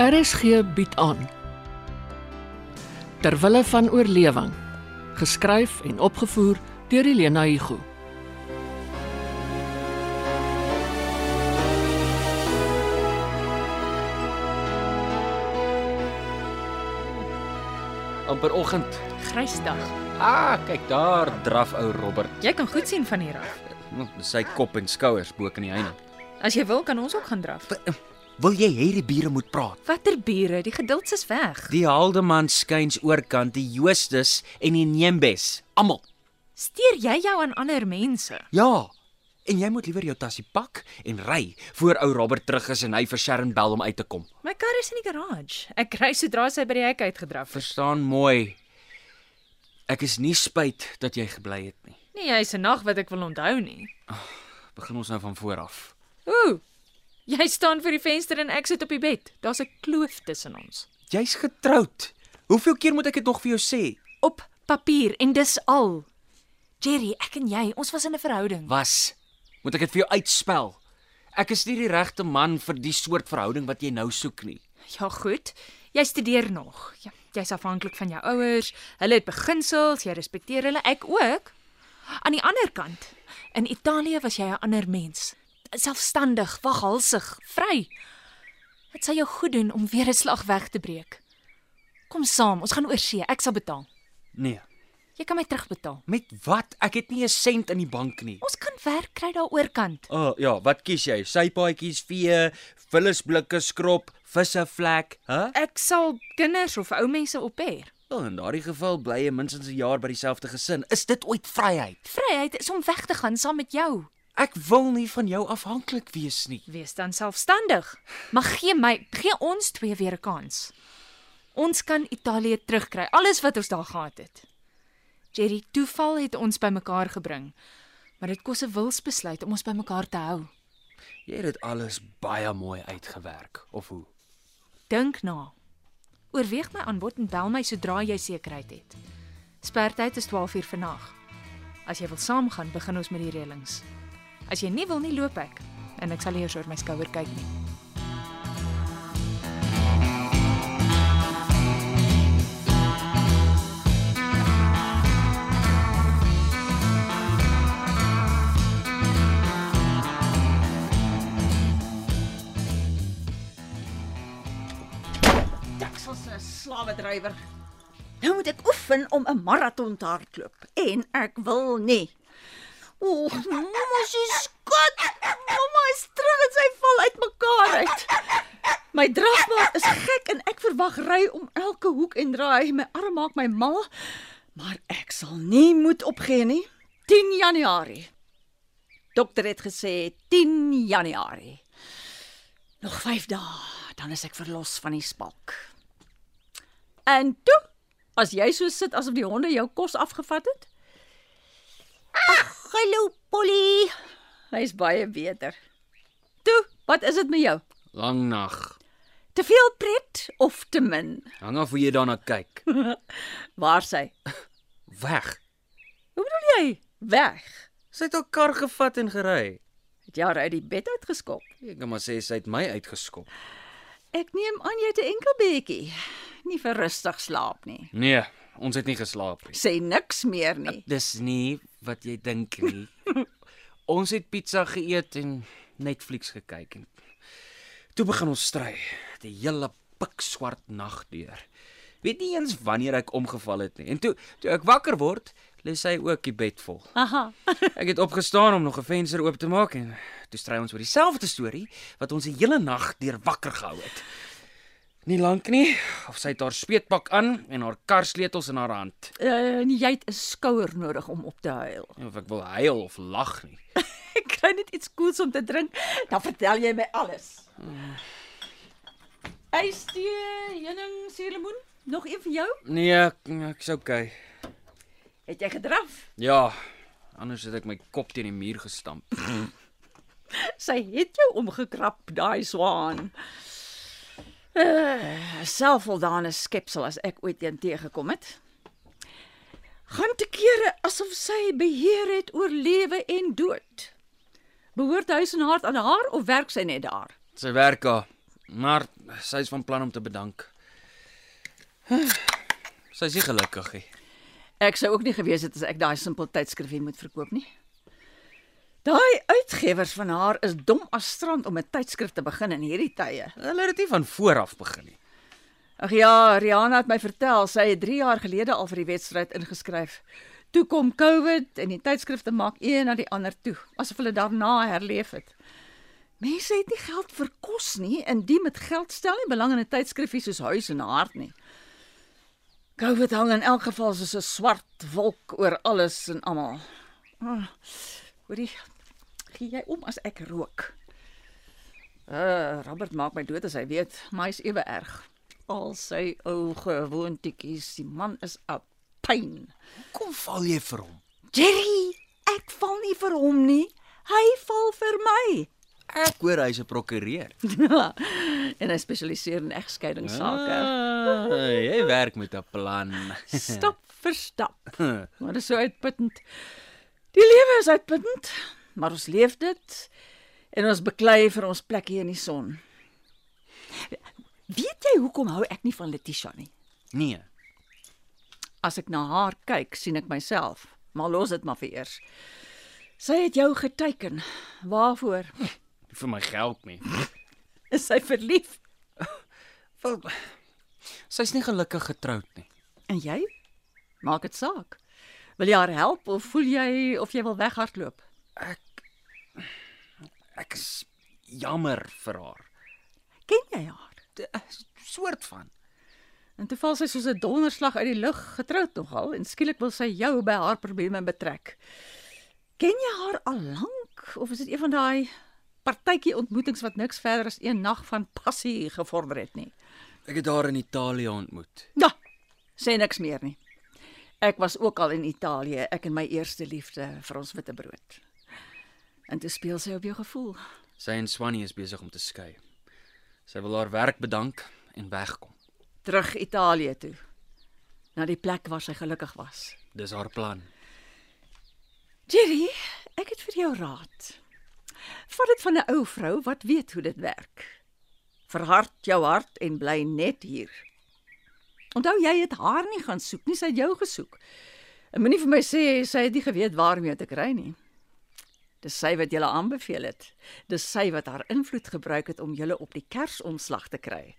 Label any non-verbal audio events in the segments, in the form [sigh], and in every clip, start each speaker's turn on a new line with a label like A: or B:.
A: RSG bied aan Terwille van oorlewing geskryf en opgevoer deur Elena Igu
B: amper oggend.
C: Grysdag.
B: Ah, kyk daar draf ou Robert.
C: Jy kan goed sien van hier af.
B: Hm, dis Sy kop en skouers bo kan die heine.
C: As jy wil kan ons ook gaan draf.
B: Wil jy hierdie bure moet praat?
C: Watter bure, die geduld is weg.
B: Die Haldeman skuins oorkant, die Joostus en die Neembes, almal.
C: Steer jy jou aan ander mense?
B: Ja. En jy moet liewer jou tassie pak en ry voor ou Robert terug is en hy vir Sharon bel om uit te kom.
C: My kar is in die garage. Ek ry sodra sy by die hek uitgedraf is.
B: Verstaan mooi. Ek is nie spyt dat jy gebly het nie.
C: Nee, jy's 'n nag wat ek wil onthou nie.
B: Begin ons nou van voor af.
C: Ooh. Jy staan voor die venster en ek sit op die bed. Daar's 'n kloof tussen ons.
B: Jy's getroud. Hoeveel keer moet ek dit nog vir jou sê?
C: Op papier en dis al. Jerry, ek en jy, ons was in 'n verhouding.
B: Was. Moet ek dit vir jou uitspel? Ek is nie die regte man vir die soort verhouding wat jy nou soek nie.
C: Ja, goed. Jy studeer nog. Ja, jy's afhanklik van jou ouers. Hulle het beginsels, jy respekteer hulle, ek ook. Aan die ander kant, in Italië was jy 'n ander mens. Selfstandig, waghalsig, vry. Dit sal jou goed doen om weer 'n slag weg te breek. Kom saam, ons gaan oorsee. Ek sal betaal.
B: Nee.
C: Jy kan my terugbetaal.
B: Met wat? Ek het nie 'n sent in die bank nie.
C: Ons kan werk kry daaroor kant.
B: O, oh, ja, wat kies jy? Sypaadjies, vee, vullisblikke, skrop, visse vlek, hè? Huh?
C: Ek sal kinders of ou mense ophef.
B: Wel, in daardie geval bly jy minstens 'n jaar by dieselfde gesin. Is dit ooit vryheid?
C: Vryheid is om weg te gaan saam met jou.
B: Ek wil nie van jou afhanklik wees nie.
C: Wees dan selfstandig. Maar gee my, gee ons twee weer 'n kans. Ons kan Italië terugkry, alles wat ons daar gehad het. Jerry, toeval het ons bymekaar gebring. Maar dit kos 'n wilsbesluit om ons bymekaar te hou.
B: Jy het dit alles baie mooi uitgewerk, of hoe?
C: Dink na. Oorweeg my aanbod en bel my sodra jy sekerheid het. Spertyd is 12:00 vannag. As jy wil saamgaan, begin ons met die reëlings. As jy nie wil nie, loop ek en ek sal nie eers oor my skouer kyk nie.
D: Texels 'n slawedrywer. Nou moet ek oefen om 'n maraton te hardloop en ek wil nie. O, mamma se skat. Mamma is terug en sy val uitmekaar uit. My drafmaat is gek en ek verwag ry om elke hoek en draai. My arm maak my mal, maar ek sal nie moed opgee nie. 10 Januarie. Dokter het gesê 10 Januarie. Nog 5 dae, dan is ek verlos van die spalk. En toe, as jy so sit asof die honde jou kos afgevat het? Ag, Ah, hallo Polly. Hy's baie beter. Toe, wat is dit met jou?
B: Lang nag.
D: Te veel pret of te min?
B: Hang af hoe jy daarna kyk.
D: Waar sy?
B: Weg.
D: Hoe bedoel jy? Weg.
B: Sy het haar kar gevat en gery.
D: Het jy haar uit die bed uitgeskop?
B: Ek kan maar sê sy het my uitgeskop.
D: Ek neem aan jy het 'n enkel bedjie. Nie vir rustig slaap nie.
B: Nee, ons het nie geslaap nie.
D: Sê niks meer nie.
B: Dis nie wat jy dink nie. ons het pizza geëet en Netflix gekyk en toe begin ons stry, die hele pikswart nag deur. Weet nie eens wanneer ek omgeval het nie. En toe toe ek wakker word, lê sy ook die bed vol.
D: Aha.
B: Ek het opgestaan om nog 'n venster oop te maak en toe stry ons oor dieselfde storie wat ons die hele nag deur wakker gehou het. Nie lank nie, of sy het haar speetpak aan en haar karsleutels in haar hand.
D: En Eh, nee, jy het 'n skouer nodig om op te huil.
B: Nie Of ek wil huil of lag nie.
D: [laughs] Ek kry net iets koels om te drink, dan vertel jy my alles. Ystee, heuning, suurlemoen, nog een vir jou?
B: Nee, ek, ek's okay.
D: Het jy gedraf?
B: Ja, anders het ek my kop teen die muur gestamp.
D: Sy het jou omgekrap, daai swaan. Uh, selfvoldane skepsel as ek ooit een teëgekom het. Gaan te kere asof sy beheer het oor lewe en dood. Behoort huis en hart aan haar of werk sy net daar?
B: Sy werk haar. Maar sy is van plan om te bedank. Sy is nie gelukkig nie.
D: Ek sou ook nie geweet het as ek daai simpel tydskrifie moet verkoop nie. Daai uitgewers van haar is dom as strand om 'n tydskrif te begin in hierdie tye.
B: Hulle het dit nie van vooraf begin nie.
D: Ag ja, Rihanna het my vertel sy het 3 jaar gelede al vir die wedstryd ingeskryf. Toe kom COVID en die tydskrifte maak een na die ander toe, asof hulle daarna herleef het. Mense het nie geld vir kos nie, en die met geld stel nie belang in 'n tydskrifie soos Huis en Hart nie. COVID hang in elk geval soos 'n swart wolk oor alles en almal. Ah, Hoorie, gee jy om as ek rook? Uh, Robert maak my dood as hy weet, maar hy's ewe erg. Al sy ou gewoontetjies, die man is 'n pyn.
B: Kom val jy vir hom.
D: Jerry, ek val nie vir hom nie. Hy val vir my. [laughs]
B: Ek hoor hy's 'n prokureur.
D: en hy spesialiseer in egskeidingsake.
B: Ah, jy werk met 'n plan.
D: Stap vir stap. Maar dit is so uitputtend. Die lewe is uitputtend, maar ons leef dit en ons beklei vir ons plek hier in die son. Weet jy hoekom hou ek nie van Letitia nie?
B: Nee.
D: As ek na haar kyk, sien ek myself. Maar los dit maar vir eers. Sy het jou geteken. Waarvoor? [laughs]
B: Nie vir my geld nie.
D: Is sy verlief?
B: Wel, sy's nie gelukkig getroud nie.
D: En jy? Maak dit saak. Wil jy haar help of voel jy of jy wil weghardloop?
B: Ek ek is jammer vir haar.
D: Ken jy haar?
B: D- 'n Soort van.
D: En toe val sy soos 'n donderslag uit die lug, getroud nogal, en skielik wil sy jou by haar probleme betrek. Ken jy haar al lank of is dit een van daai partytjie ontmoetings wat niks verder as een nag van passie gevorder het nie?
B: Ek het haar in Italië ontmoet.
D: Ja, sê niks meer nie. Ek was ook al in Italië, ek en my eerste liefde vir ons witbrood. En toe speel sy op jou gevoel.
B: Sy en Swanny is besig om te skei. Sy wil haar werk bedank en wegkom.
D: terug Italië toe. Na die plek waar sy gelukkig was.
B: Dis haar plan.
D: Jerry, ek het vir jou raad. Vat dit van 'n ou vrou wat weet hoe dit werk. Verhard jou hart en bly net hier. Onthou jy het haar nie gaan soek nie, sy het jou gesoek. En moenie vir my sê sy het nie geweet waarmee te kry nie. Dis sy wat julle aanbeveel het. Dis sy wat haar invloed gebruik het om julle op die kersomslag te kry.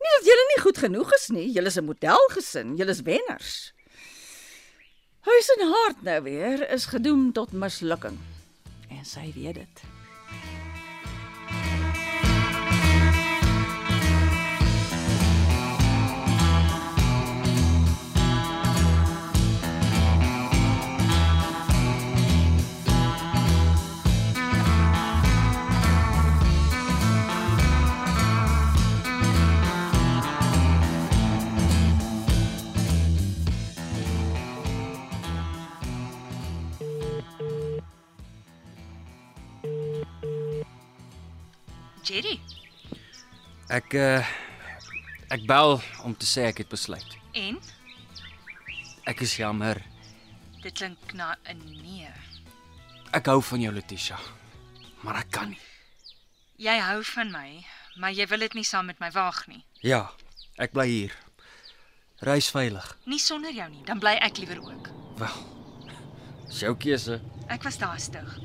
D: Nie dat julle nie goed genoeg is nie. Julle is 'n modelgesin, julle is wenners. Huis en hart nou weer is gedoem tot mislukking. En sy weet dit.
C: Jerry,
B: Ek uh ek bel om te sê ek het besluit.
C: en
B: Ek is jammer.
C: dit klink na 'n nee.
B: Ek hou van jou Letitia. Maar ek kan nie.
C: Jy hou van my, maar jy wil dit nie saam met my waag nie.
B: Ja, ek bly hier. Reis veilig.
C: Nie sonder jou nie, dan bly ek liewer ook.
B: Wel. eh, Dis jou keuse
C: Ek was daar stig.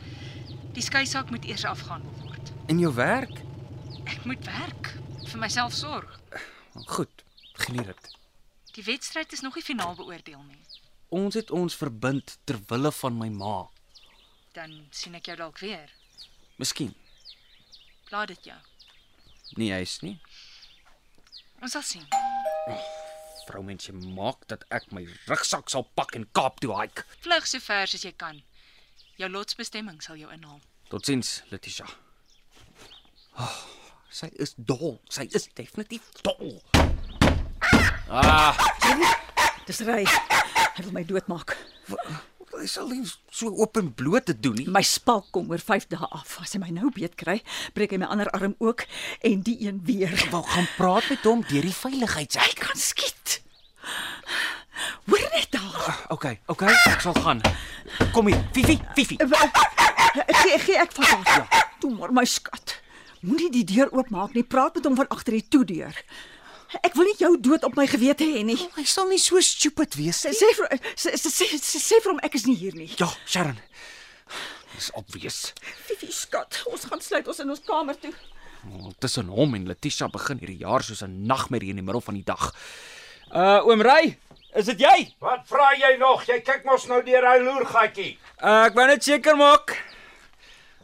C: Die skei saak moet eers afgehandel word.
B: en jou werk.
C: Ek moet werk, vir myself sorg.
B: Goed, geniet dit.
C: Die wedstryd is nog nie finaal beoordeel nie.
B: Ons het ons verbind ter wille van my ma.
C: Dan sien ek jou dalk weer.
B: Miskien.
C: Plaat dit jou.
B: Nee, hy's nie.
C: Ons sal sien.
B: Vroumensie maak dat ek my rugsak sal pak en Kaap toe hike.
C: Vlug so ver as jy kan. Jou lotsbestemming sal jou inhaal.
B: Totsiens, Letitia. Oh, Ah, sy is dol. Sy is definitief dol.
D: Dis ry. Hy wil my doodmaak.
B: Hy sal nie so oop en bloot te doen nie.
D: My spalk kom oor 5 dae af. As hy my nou beet kry, breek hy my ander arm ook en die een weer.
B: Wou gaan praat met hom deur die veiligheidsek.
D: Ek kan skiet. Hoor net daar.
B: Okay, okay, ek sal gaan. Kom hier, Fifi, Fifi.
D: Gee gee ek vas haar. Toe maar my skat. Moenie die deur oopmaak nie. Praat met hom van agter die toedeur. Ek wil nie jou dood op my gewete hê nie.
B: Oh, Hy sal nie so stupid wees
D: Sê sê vir sê sê, sê, sê, sê vir hom ek is nie hier nie.
B: Ja, Sharon. Dis obvious.
D: Fifi skat, ons gaan sluit ons in ons kamer toe.
B: Tussen hom en Letitia begin hierdie jaar soos 'n nagmerrie in die middel van die dag. Uh oom Ry, is dit jy?
E: Wat vra jy nog? Jy kyk mos nou deur hy loergatjie.
B: Uh, ek wou net seker maak.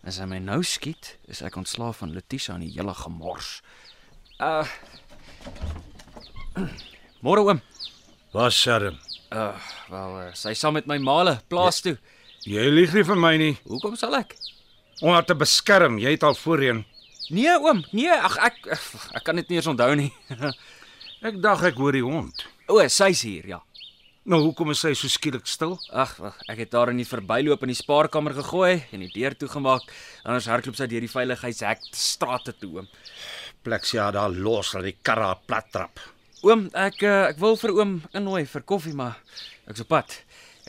B: As hy my nou skiet, is ek ontslaaf van Letitia en die hele gemors. Uh Môre oom.
E: Was Sharon.
B: Uh wel, uh, sy sal met my maale plaas toe.
E: Jy lieg nie vir my nie.
B: Hoekom sal ek?
E: Om haar te beskerm, jy het al voorheen.
B: Nee oom, nee, ag ek ek kan dit nie eens onthou nie.
E: Ek dink ek hoor die hond.
B: o, sy's hier, ja.
E: Nou hoekom is sy so skielik stil?
B: Ag, wag, ek het daar in die verbyloop in die spaarkamer gegooi en die deur toegemaak. Anders hardloop sy deur die veiligheidshek strate toe, oom.
E: Plexia daar los dat die karra plat trap.
B: Oom, ek eh, ek wil vir oom innooi vir koffie, maar ek's op pad.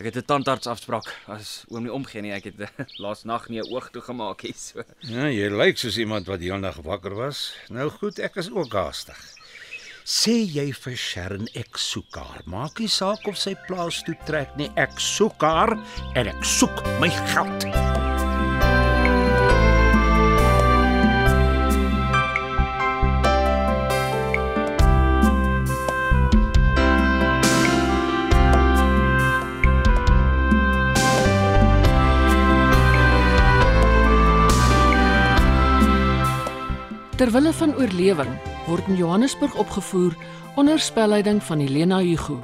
B: Ek het 'n tandarts afspraak. As oom nie omgee nie, ek het eh, [laughs] laas nag nie 'n oog toegemaak hier so.
E: Ja, jy lyk soos iemand wat heelnag wakker was. Nou goed, ek is ook haastig. Sê jy vir Sharon ek soek haar. Maak nie saak of sy plaas toe trek nie. Ek soek haar en ek soek my geld.
A: Terwille van oorlewing word in Johannesburg opgevoer onder spelleiding van Helena Hugo.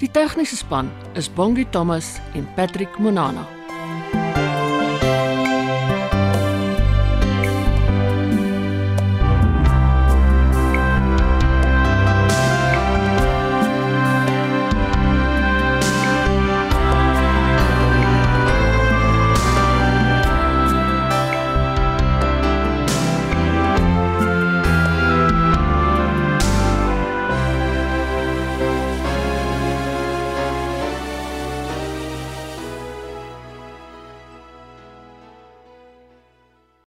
A: Die tegniese span is Bongi Thomas en Patrick Monana.